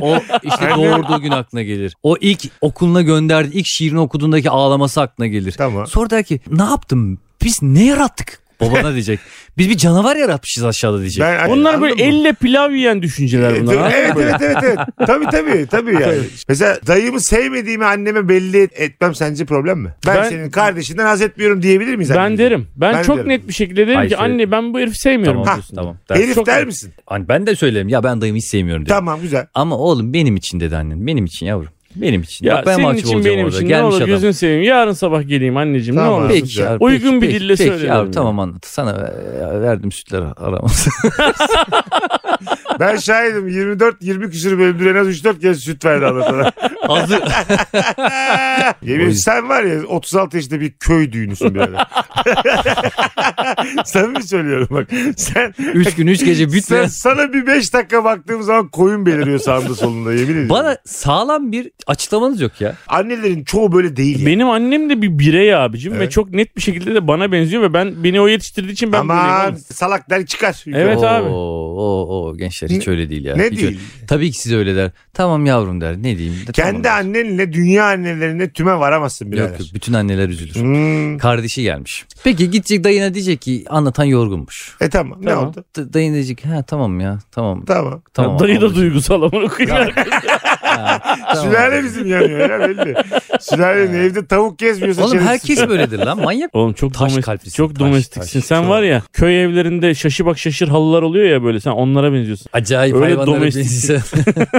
O işte doğurduğu gün aklına gelir. O ilk okuluna gönderdiği ilk şiirini okuduğundaki ağlaması aklına gelir. Tamam. Sonra der ki ne yaptım? Biz ne yarattık? Babana diyecek. Biz bir canavar yaratmışız aşağıda diyecek. Ben- hani Bunlar Anladın böyle mı? E, elle pilav yiyen düşünceler bunlar. anladın Evet mı? evet evet evet. Tabii tabii tabii yani. Mesela dayımı sevmediğimi anneme belli et- etmem sence problem mi? Ben, Ben- senin kardeşinden haz etmiyorum diyebilir miyiz? Ben annemize? derim. Ben, Ben çok derim. net bir şekilde derim Ay, ki şey- anne ben bu herifi sevmiyorum. Tamam, diyorsun. tamam. Der. Herif Çok- der misin? Hani ben de söylerim ya ben dayımı hiç sevmiyorum diye. Tamam güzel. Ama oğlum benim için dedi annen. Benim için yavrum. Benim için. Ya Bak ben senin mahcup için olacağım benim orada. için ne Gelmiş olur adam. gözünü seveyim. Yarın sabah geleyim anneciğim Tamam. ne olur. Peki yavrum, Uygun peki, bir peki, dille peki söylerim yavrum, yani. tamam anlat. Sana e, verdim sütler araması. Ben şahidim 24-20 küsür bölümdür en az 3-4 kez süt verdi anlatana. Hazır. Yemin ediyorum, sen var ya 36 yaşında bir köy düğünüsün birader. sen mi söylüyorum bak. Sen, 3 gün 3 gece sen bitmeyen. sana bir 5 dakika baktığım zaman koyun beliriyor sağında solunda yemin ediyorum. Bana sağlam bir açıklamanız yok ya. Annelerin çoğu böyle değil. ya. Benim annem de bir birey abicim ve Evet. çok net bir şekilde de bana benziyor ve ben beni o yetiştirdiği için ben böyleyim Aman oğlum. salak der çıkar. yukarı. Evet Oo, abi. Oo, oo, gençler hiç öyle değil ya. Ne Hiç değil? öyle- Tabii ki size öyle der. Tamam yavrum der. Ne diyeyim? De, Kendi tamam. annenle dünya annelerine tüme varamazsın birader. Yok yok bütün anneler üzülür. Hmm. Kardeşi gelmiş. Peki gidecek dayına diyecek ki anlatan yorgunmuş. E tamam, ne Tamam. oldu? D- Dayın diyecek ha tamam ya tamam. Tamam. Tamam. Dayı da anladım. duygusal amına koyayım. Ha, tamam. Sülale bizim yanıyor helal belli. Sülalenin evde tavuk gezmiyorsa Oğlum şerefsiz. herkes böyledir lan manyak. Oğlum çok Taş domestik, kalplisin, çok taş, domestiksin. taş. sen Çok. var ya köy evlerinde şaşı bak şaşır halılar oluyor ya böyle sen onlara benziyorsun. Acayip Öyle hayvanlara domestik. benziyor.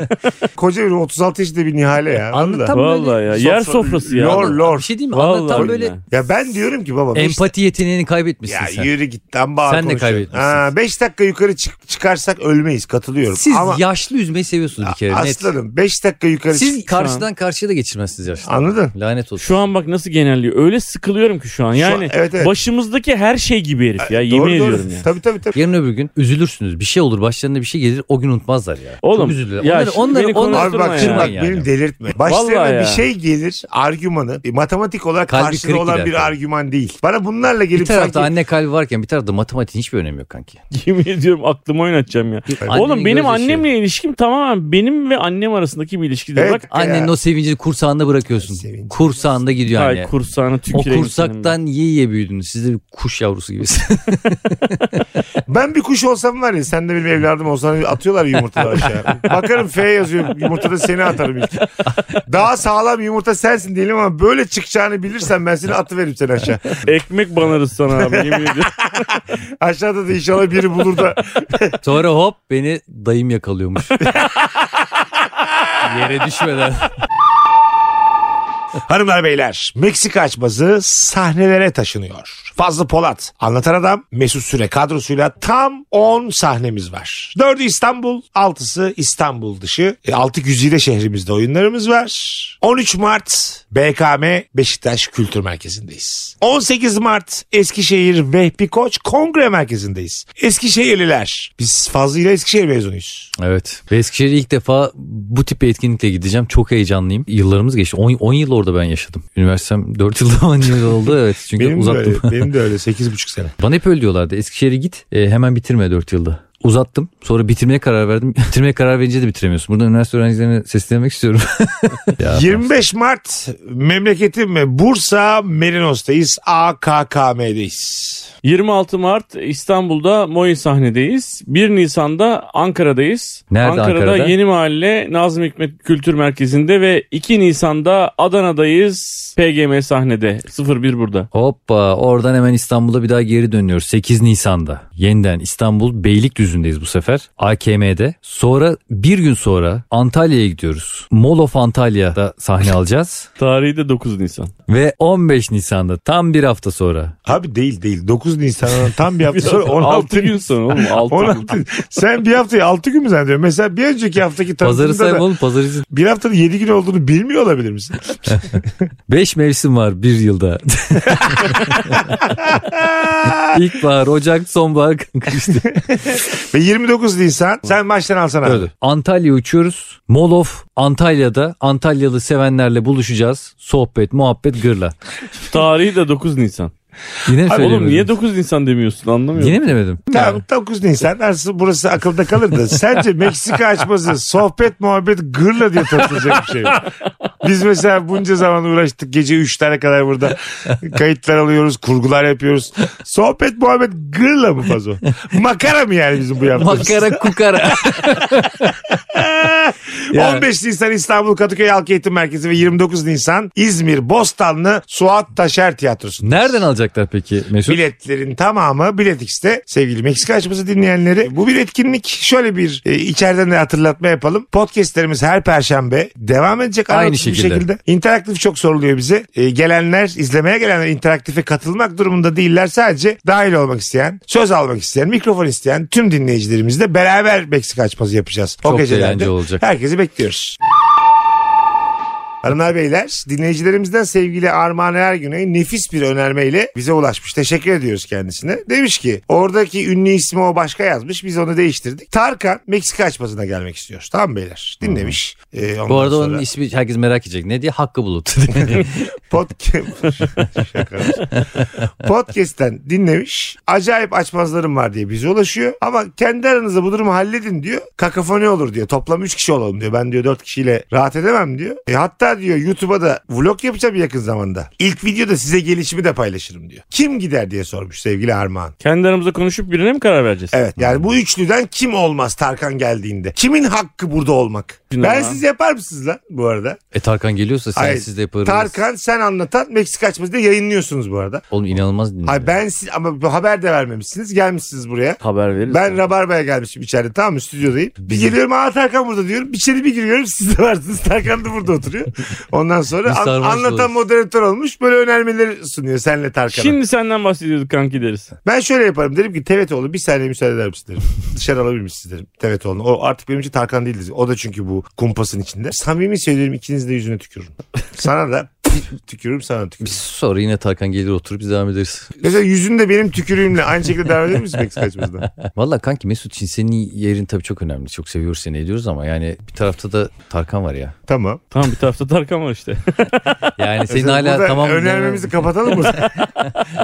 Koca bir 36 yaşında bir Nihale ya. anladın mı? Anlatam Vallahi böyle. ya Sofra- yer sofrası ya. Lor lor. Bir şey diyeyim mi? Vallahi Anlatan böyle billahi. Ya ben diyorum ki baba. beş- empati yeteneğini kaybetmişsin Ya sen. yürü git lan bağır Sen de konuşuyorsun. kaybetmişsin. Ha, 5 dakika yukarı çık- çıkarsak ölmeyiz katılıyorum. Siz Ama yaşlı üzmeyi seviyorsunuz bir kere net. aslanım 5 dakika yukarı çık. Siz karşıdan karşıya da geçirmezsiniz yaşlı. Anladın? Lanet olsun. Şu an bak nasıl genelliyor. Öyle sıkılıyorum ki şu an. an- Yani evet, evet. başımızdaki her şey gibi herif ya. Yemin Doğru, doğru. ediyorum ya. Tabii tabii tabii. Yarın öbür gün üzülürsünüz. Bir şey olur başlarına bir şey gelir o gün unutmazlar ya. Oğlum, Çok üzülürler. ya Onları, şimdi onları, beni onları Abi bak ya. şimdi kırmayın bak yani. beni delirtme. Başlarına Vallahi bir ya. şey gelir argümanı e, matematik olarak Kalbi karşılığı kırık olan gider bir tabii. argüman değil. Bana bunlarla Bir gelip tarafta sanki anne kalbi varken bir tarafta matematiğin hiçbir önemi yok kanki. Yemin ediyorum aklımı oynatacağım ya. Annenin Oğlum benim gözyaşı. annemle ilişkim tamamen benim ve annem arasındaki bir ilişkidir. Evet. Bak Annenin Ya. o sevincini kursağında bırakıyorsun. Sevinci. Kursağında gidiyor anne. ay kursağını o tüküreyim. senin kursaktan yiye yiye büyüdünüz. Siz de bir kuş yavrusu gibisiniz. ben bir kuş olsam var ya sen de benim evladım olsan atıyorlar yumurtaları aşağı. Bakarım F yazıyor yumurtada seni atarım ilk. Daha sağlam yumurta sensin diyelim ama böyle çıkacağını bilirsen ben seni atıveririm seni aşağı. ben. Ekmek banarız sana abi yemin ediyorum. Aşağıda da inşallah biri bulur da Sonra hop beni dayım yakalıyormuş. Yere düşmeden. Hanımlar beyler Meksika açmazı sahnelere taşınıyor. Fazlı Polat anlatan adam Mesut Süre kadrosuyla tam 10 sahnemiz var. 4'ü İstanbul 6'sı İstanbul dışı. E, 6 güzide şehrimizde oyunlarımız var. 13 Mart BKM Beşiktaş Kültür Merkezi'ndeyiz. 18 Mart Eskişehir Vehbi Koç Kongre Merkezi'ndeyiz. Eskişehirliler biz Fazlı ile Eskişehir mezunuyuz. Evet. Ve Eskişehir'e ilk defa bu tip bir etkinlikle gideceğim. Çok heyecanlıyım. Yıllarımız geçti. 10 yıl orada ben yaşadım. Üniversitem 4 yıl falan yıl oldu. Evet. Çünkü Benim de, uzattım. öyle, benim de öyle 8,5 sene. Bana hep öyle diyorlardı. Eskişehir'e git e, hemen bitirme 4 yılda. Uzattım. Sonra bitirmeye karar verdim. bitirmeye karar verince de bitiremiyorsun. Burada üniversite öğrencilerine seslenmek istiyorum. Ya, 25 Mart memleketim ve Bursa Merinos'tayız. AKKM'deyiz. 26 Mart İstanbul'da Moy sahnedeyiz. 1 Nisan'da Ankara'dayız. Nerede Ankara'da, Ankara'da? Yeni Mahalle Nazım Hikmet Kültür Merkezi'nde ve 2 Nisan'da Adana'dayız. PGM sahnede. 01 burada. Hoppa oradan hemen İstanbul'a bir daha geri dönüyoruz. 8 Nisan'da yeniden İstanbul Beylikdüzü'ndeyiz bu sefer. AKM'de. Sonra bir gün sonra Antalya'ya gidiyoruz. Mall of Antalya'da sahne alacağız. Tarihi de 9 Nisan. Ve 15 Nisan'da tam bir hafta sonra. Abi değil değil. 9 Nisan'dan tam bir hafta sonra 6 16 gün sonra oğlum. 6 16. Sen bir haftayı 6 gün mü zannediyorsun? Mesela bir önceki haftaki Pazarı tanıtımda sayma da oğlum pazarı izin. bir haftanın 7 gün olduğunu bilmiyor olabilir misin? 5 mevsim var bir yılda. İlkbahar, Ocak, sonbahar, kış. ve 29 Nisan sen baştan alsana. abi. Antalya uçuyoruz. Molof Antalya'da Antalyalı sevenlerle buluşacağız. Sohbet, muhabbet, gırla. Tarihi de 9 Nisan. Yine mi Abi oğlum söyleyemedim? niye 9 Nisan demiyorsun anlamıyorum. Yine mi demedim? Tamam 9 Nisan aslında burası akılda kalır da sence Meksika açması sohbet muhabbet gırla diye tartılacak bir şey mi? Biz mesela bunca zaman uğraştık gece 3'lere kadar burada kayıtlar alıyoruz kurgular yapıyoruz. Sohbet muhabbet gırla mı fazo? Makara mı yani bizim bu yaptığımız? Makara kukara. Ya. 15 Nisan İstanbul Kadıköy Halk Eğitim Merkezi ve 29 Nisan İzmir Bostanlı Suat Taşer Tiyatrosu. Nereden alacaklar peki Mesut? Biletlerin tamamı Bilet X'te. Sevgili Meksika açması dinleyenleri bu bir etkinlik. Şöyle bir e, içeriden de hatırlatma yapalım. Podcastlerimiz her perşembe devam edecek. Aynı aralıksız bir şekilde. şekilde. İnteraktif çok soruluyor bize. E, gelenler, izlemeye gelenler interaktife katılmak durumunda değiller. Sadece dahil olmak isteyen, söz almak isteyen, mikrofon isteyen tüm dinleyicilerimizle beraber Meksika açması yapacağız. Çok o da gecelerde. eğlence olacak. Herkesi bekliyoruz. Hanımlar beyler dinleyicilerimizden sevgili Armağan Ergün'e nefis bir önermeyle bize ulaşmış. Teşekkür ediyoruz kendisine. Demiş ki oradaki ünlü ismi o başka yazmış biz onu değiştirdik. Tarkan Meksika açmasına gelmek istiyor. Tamam beyler dinlemiş. Ee, Bu ondan arada sonra onun ismi herkes merak edecek. Ne diye? Hakkı Bulut. pod- Şaka. Podcast'ten dinlemiş. Acayip açmazlarım var diye bize ulaşıyor. Ama kendi aranızda bu durumu halledin diyor. Kakafoni olur diyor. Toplam 3 kişi olalım diyor. Ben diyor 4 kişiyle rahat edemem diyor. E hatta diyor YouTube'a da vlog yapacağım yakın zamanda. İlk videoda size gelişimi de paylaşırım diyor. Kim gider diye sormuş sevgili Armağan. Kendi aramızda konuşup birine mi karar vereceğiz? Evet yani bu üçlüden kim olmaz Tarkan geldiğinde? Kimin hakkı burada olmak? Bilmem Ben ha. siz yapar mısınız lan bu arada? e Tarkan geliyorsa Hayır, sensiz de yaparız. Tarkan sen anlatan Meksika açması diye yayınlıyorsunuz bu arada. Oğlum inanılmaz dinle. Ay ben siz ama bu haber de vermemişsiniz. Gelmişsiniz buraya. Haber veririz. Ben Rabarba'ya gelmişim içeride tamam mı stüdyodayım. Bir geliyorum aa Tarkan burada diyorum. İçeri bir giriyorum siz de varsınız. Tarkan da burada oturuyor. Ondan Biz sonra an- sarmaş anlatan oluruz. moderatör olmuş. Böyle önermeleri sunuyor senle Tarkan'a. Şimdi senden bahsediyorduk kanki deriz. Ben şöyle yaparım. Derim ki Tevetoğlu bir saniye müsaade eder misin derim. Dışarı alabilir misin derim Tevetoğlu'nu. O artık benim için Tarkan değildir. O da çünkü bu kumpasın içinde. Samimi söylüyorum ikiniz de yüzüne tükürürüm. Sana da tükürürüm sana da tükürürüm. Sonra yine Tarkan gelir oturup biz devam ederiz. Mesela yüzünde benim tükürüğümle aynı şekilde devam edebilir misin Meksika açmasına? Valla kanki Mesut için senin yerin tabii çok önemli. Çok seviyoruz seni ediyoruz ama yani bir tarafta da Tarkan var ya. Tamam. Tamam bir tarafta Tarkan var işte. Yani senin Mesela hala burada tamam. Önermemizi kapatalım mı?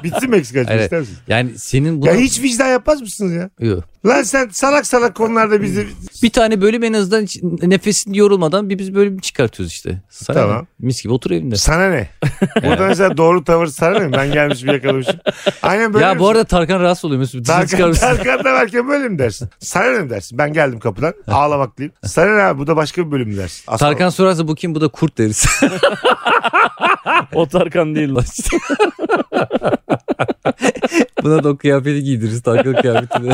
Bitsin Meksika açması Evet. ister misin? Yani senin buna... Ya hiç vicdan yapmaz mısınız ya? Yok. Lan sen salak salak konularda bizi... Bir tane bölüm en azından hiç nefesin yorulmadan bir biz bölüm çıkartıyoruz işte. Sana Tamam. ne? Mis gibi otur evinde. Sana ne? Burada mesela doğru tavır sana ne? Ben gelmiş bir yakalamışım. Aynen böyle ya mi? bu arada Tarkan rahatsız oluyor Mesut. Dizini Tarkan, çıkarmışsın. Tarkan da varken böyle mi dersin? Sana ne mi dersin? Ben geldim kapıdan ağlamaklıyım. Sana ne abi bu da başka bir bölüm mü dersin? Aslan- Tarkan sorarsa bu kim bu da kurt deriz. O Tarkan değil. Buna da o kıyafeti giydiririz. Takıl kıyafetini.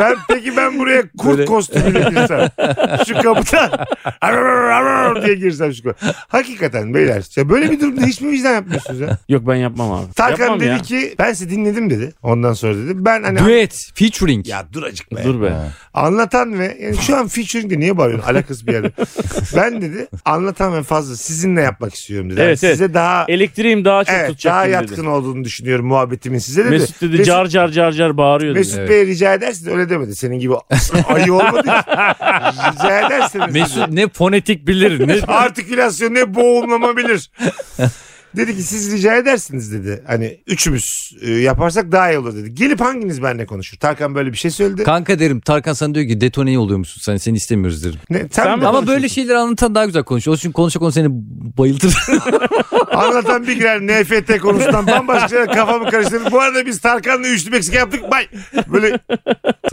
Ben peki ben buraya kurt Böyle- kostümüyle girsem. Şu kapıdan arar arar diye girsem şu kapıdan. Hakikaten beyler. Ya böyle bir durumda hiç mi vicdan yapmıyorsunuz ya? Yok ben yapmam abi. Tarkan yapmam dedi ya. ki ben sizi dinledim dedi. Ondan sonra dedi. Ben hani Düet. Featuring. ya dur acık be. Dur be. Anlatan ve yani şu an featuring de niye bağırıyorsun alakası bir yerde. ben dedi anlatan ve fazla sizinle yapmak istiyorum dedi. Evet, Yani size daha Elektriğim daha çok evet, tutacak daha gibi yatkın dedi. olduğunu düşünüyorum muhabbetimin size dedi. Mesut dedi car car car car bağırıyordu. Mesut Evet. Bey rica edersiniz öyle demedi. Senin gibi ayı olmadı ki. rica edersiniz. Mesut ne fonetik bilir ne Artikülasyon ne boğulmama bilir. dedi ki siz rica edersiniz dedi. Hani üçümüz e, yaparsak daha iyi olur dedi. Gelip hanginiz benimle konuşur? Tarkan böyle bir şey söyledi. Kanka derim Tarkan sana diyor ki detoneyi oluyormuşsun sen seni istemiyoruz derim. Ne, sen Sen mi Ama konuşuyorsun? böyle şey- şeyleri anlatan daha güzel konuşuyor. O için konuşa konu seni bayıltır. Anlatan bir girer NFT konusundan bambaşka şeyler kafamı karıştırdı. Bu arada biz Tarkan'la üçlü Meksika yaptık. Bay. Böyle ben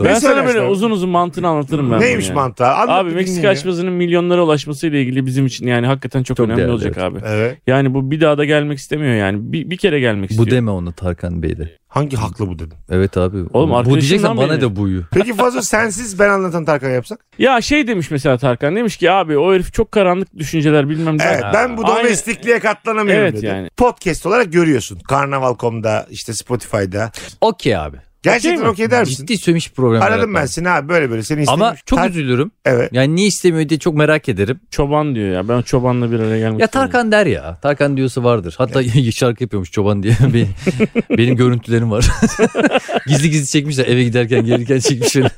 Ne sana böyle söylersin? uzun uzun mantığını anlatırım ben. neymiş bunu yani. mantığa? Anlat Abi bir Meksika dinleyin ya. açmasının milyonlara ulaşmasıyla ilgili bizim için yani hakikaten çok, Çok önemli değerli, olacak evet. abi. Evet. Yani bu bir daha da gelmek istemiyor yani. Bir, bir kere gelmek bu istiyor. deme ona Tarkan Bey de. Hangi haklı bu dedim. Evet abi. bu arkadaşından diyeceksen bana beğenir. da buyu. Peki fazla sensiz ben anlatan Tarkan yapsak? Ya şey demiş mesela Tarkan demiş ki abi o herif çok karanlık düşünceler bilmem ne. Evet ben bu Aynı- domestikliğe katlanamıyorum Evet dedi. yani. Podcast olarak görüyorsun. Karnaval.com'da işte Spotify'da. Okey abi. Gerçekten Okey mi? okey der misin? Ciddi söylemiş problem. Aradım ben seni abi böyle böyle seni istemiş. Ama çok Tar- üzülürüm. Evet. Yani niye istemiyor diye çok merak ederim. Çoban diyor ya ben çobanla bir araya gelmek Ya istiyorum. Tarkan der ya. Tarkan diyorsa vardır. Hatta şarkı yapıyormuş çoban diye. Bir, benim görüntülerim var. gizli gizli çekmişler. Eve giderken gelirken çekmişler.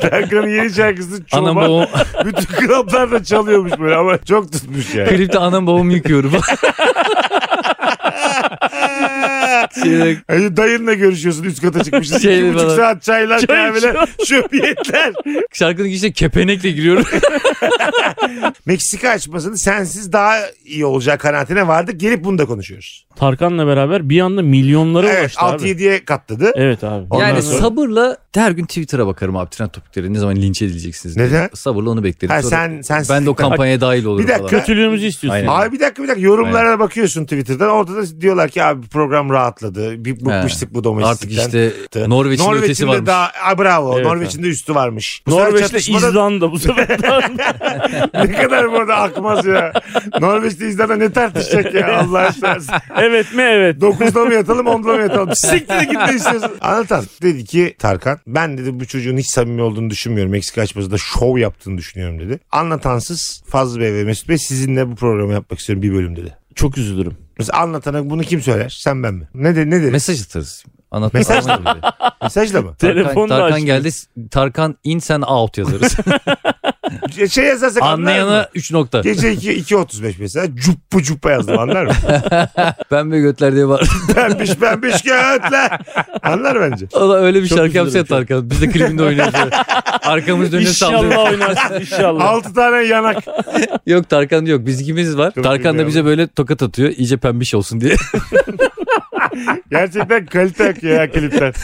Tarkan'ın yeni şarkısı Anam çoban. babam, Bütün klaplarda çalıyormuş böyle ama çok tutmuş yani. klipte anam babamı yıkıyorum. Şey- Hani dayınla görüşüyorsun üst kata çıkmışsın. Şey İki buçuk falan. saat çaylar Çay kahveler içiyor. şöbiyetler. Şarkının girişine kepenekle giriyorum. Meksika açmasını sensiz daha iyi olacağı kanaatine vardık. Gelip bunu da konuşuyoruz. Tarkan'la beraber bir anda milyonlara Evet ulaştı abi. 6-7'ye katladı. Evet abi. Ondan yani sonra- sabırla her gün Twitter'a bakarım abi trend topikleri ne zaman linç edileceksiniz. diye. Neden? Sabırla onu beklerim. Ha, Sonra sen, sen ben de o kampanyaya dahil olurum Bir dakika. falan. Kötülüğümüzü istiyorsun. Aynen. Abi bir dakika bir dakika yorumlara bakıyorsun Twitter'dan orada da diyorlar ki abi program rahatladı bir bıkmıştık bu domestikten. Artık işte Norveç'in, ötesi de varmış. Daha, Aa, bravo Evet, Norveç'in de üstü varmış. Bu sefer Norveç'te çatışmada İzlanda bu sefer. ne kadar burada akmaz ya. Norveç'te İzlanda ne tartışacak ya Allah aşkına. evet mi evet. 9'da mı yatalım 10'da mı yatalım? Siktir git ne istiyorsun? Anlatan dedi ki Tarkan ben dedi bu çocuğun hiç samimi olduğunu düşünmüyorum. Meksika açmasında şov yaptığını düşünüyorum dedi. Anlatansız Fazlı Bey ve Mesut Bey sizinle bu programı yapmak istiyorum bir bölüm dedi. Çok üzülürüm. Mesela anlatana bunu kim söyler? Sen ben mi? Ne de ne deriz? Mesaj atarız. Anlatma Mesaj- falan gibi. Mesajla mı? Telefon Tarkan, da Tarkan açtı. geldi. Tarkan in sen out yazarız. şey yazarsak anlar mı? Anlayana 3 nokta. Gece 2 2.35 mesela cuppa cuppa yazdım anlar mı? Pembe götler diye var. pembiş pembiş kağıtlar. Anlar bence. O da öyle bir Çok şarkı yapsa ya üzülürüm şu an. Tarkan. Biz de klibinde oynarız. böyle. Arkamız dönüyor sallıyor. İnşallah oynarsın inşallah. 6 tane yanak. Yok Tarkan yok. Biz ikimiz var. Çok Tarkan da üzülüyorum. bize böyle tokat atıyor. İyice pembiş olsun diye. Gerçekten kalite akıyor ya klipler.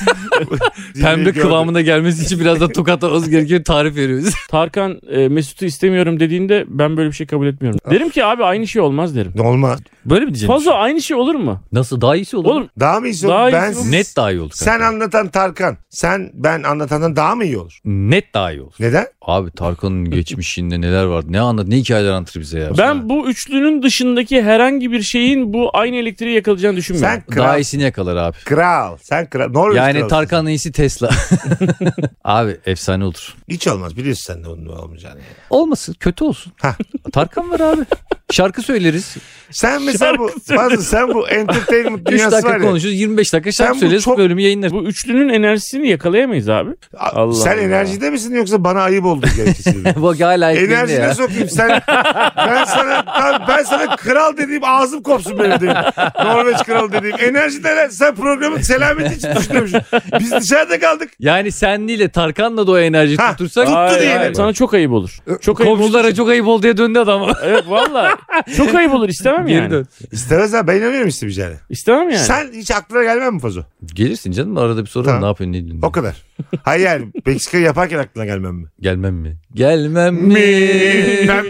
Pembe kıvamına gelmesi için biraz da tokat olması gerekiyor. Tarif veriyoruz. Tarkan e, Mesut'u istemiyorum dediğinde ben böyle bir şey kabul etmiyorum. Derim ki abi aynı şey olmaz derim. Olmaz. Böyle mi diyeceksin? Fazla aynı şey olur mu? Nasıl daha iyisi olur? mu? Oğlum Daha mı iyi? Daha Daha iyisi ben bu. siz- Net daha iyi olur. sen kanka. anlatan Tarkan. Sen ben anlatandan daha mı iyi olur? Net daha iyi olur. Neden? Abi Tarkan'ın geçmişinde neler vardı? Ne anlat? Ne hikayeler anlatır bize ya? ben bu üçlünün dışındaki herhangi bir şeyin bu aynı elektriği yakalayacağını düşünmüyorum. Sen kral. daha iyisini yakalar abi. Kral. Sen kral. Norveç Yani kralısın. Tarkan'ın iyisi Tesla. Abi efsane olur. Hiç olmaz. Biliyorsun sen de onun olmayacağını. Olmasın kötü olsun. Hah. Tarkan var abi. Şarkı söyleriz. Sen mesela bu, Şarkı söyle. Fazıl, sen bu entertainment 3 dünyası var dakika ya. konuşuruz 25 dakika şarkı Sen bu söyleriz çok- bölümü yayınlarız. Bu üçlünün enerjisini yakalayamayız abi. A- Allah sen Allah. enerjide misin yoksa bana ayıp oldu gerekçesiyle. Bu hala eklendi Enerjine ya. sokayım sen. Ben sana ben, ben sana kral dediğim ağzım kopsun benim dediğim. Norveç kralı dediğim. Enerjide sen programın selameti için düşünüyormuşsun. Biz dışarıda kaldık. Yani senliyle Tarkan'la da o enerjiyi Hah, tutursak. tuttu Hayır, diyelim. hayır, Sana çok ayıp olur. Çok ayıp olur. Komşulara çok ayıp oldu diye döndü adam. Evet valla Çok ayıp olur istemem Geri yani. dön. İstemez ha ben inanıyorum istemeyeceğine. İstemem yani. Sen hiç aklına gelmez mi Fazo? Gelirsin canım arada bir sorarım Tamam. ne yapıyorsun ne ediyorsun? O kadar. Hayır yani Meksika yaparken aklına gelmem mi? Gelmem mi? Gelmem mi?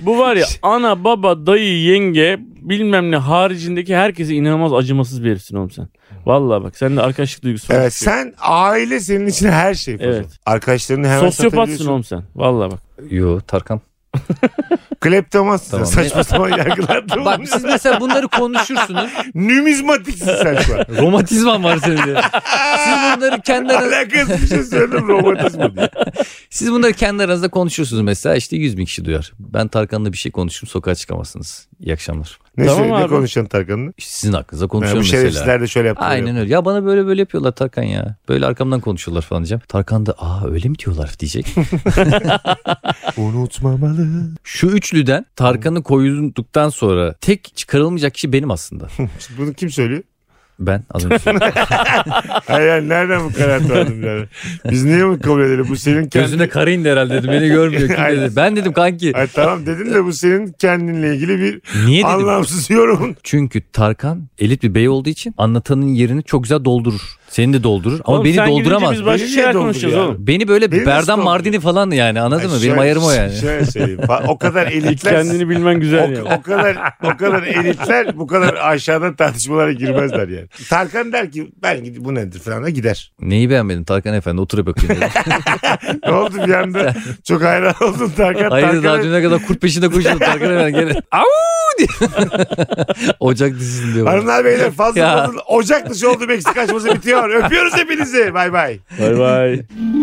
Bu var ya ana baba dayı yenge bilmem ne haricindeki herkese inanılmaz acımasız bir herifsin oğlum sen. Vallahi bak sende arkadaşlık duygusu var. Evet sen aile senin için her şey Fazo. Evet. Arkadaşlarını hemen Sosyopatsın satabiliyorsun. oğlum sen. Vallahi bak. Yo Tarkan. Kleptomansın Tamam. sen. Saçma sapan yargılarda Bak bulunuyorsun. siz mesela bunları konuşursunuz. Numizmatiksin sen şu an. Romatizman var senin de. Siz bunları kendi aranızda, Alakasız bir şey söyledim romantizma diye. siz bunları kendi aranızda konuşursunuz mesela işte 100 bin kişi duyar. Ben Tarkan'la bir şey konuştum sokağa çıkamazsınız. İyi akşamlar. Ne, Tamam söyle, ne abi. konuşuyorsun Tarkan'la? İşte sizin hakkınızda Yani bu konuşuyorum mesela. şerefsizler de şöyle yaptı. Aynen öyle. Ya bana böyle böyle yapıyorlar Tarkan ya. Böyle arkamdan konuşuyorlar falan diyeceğim. Tarkan da aa öyle mi diyorlar diyecek. Unutmamalı. Şu üçlüden Tarkan'ı koyulduktan sonra tek çıkarılmayacak kişi benim aslında. Bunu kim söylüyor? Ben az önce söyledim. Hayır yani nereden bu karar verdin yani? Biz niye mi kabul edelim? Bu senin kendin... Gözüne kara indi herhalde dedim. Beni görmüyor. Kim Aynen. dedi? Ben dedim kanki. Ay, tamam dedin de bu senin kendinle ilgili bir Niye dedim? anlamsız yorumun. Çünkü Tarkan elit bir bey olduğu için anlatanın yerini çok güzel doldurur. Seni de doldurur. Ama Oğlum beni sen gidince dolduramaz. şey Biz başka Beni niye şeyler dolduruyor konuşacağız ya? oğlum. Beni böyle Beni nasıl Berdan dolduruyor? Mardini falan yani anladın mı? Ay, Benim şöyle- ayarım o yani. Şöyle söyleyeyim. Fa- O kadar elitler... Kendini bilmen güzel o, yani. o kadar o kadar elitler bu kadar aşağıdan tartışmalara girmezler yani. Tarkan der ki ben gidip bu nedir falan da gider. Neyi beğenmedin Tarkan efendi oturup bakayım. dedim. Ne oldu bir anda çok hayran oldum Tarkan. Hayır daha Tarkan'a- düne kadar kurt peşinde koşuyordu Tarkan efendi. Gene, Au diye. Ocak dizisini diyor. bana. Hanımlar beyler fazla Ya. fazla Ocak dışı oldu Meksika açması bitiyor. Öpüyoruz hepinizi. Bay bay. Bay bay.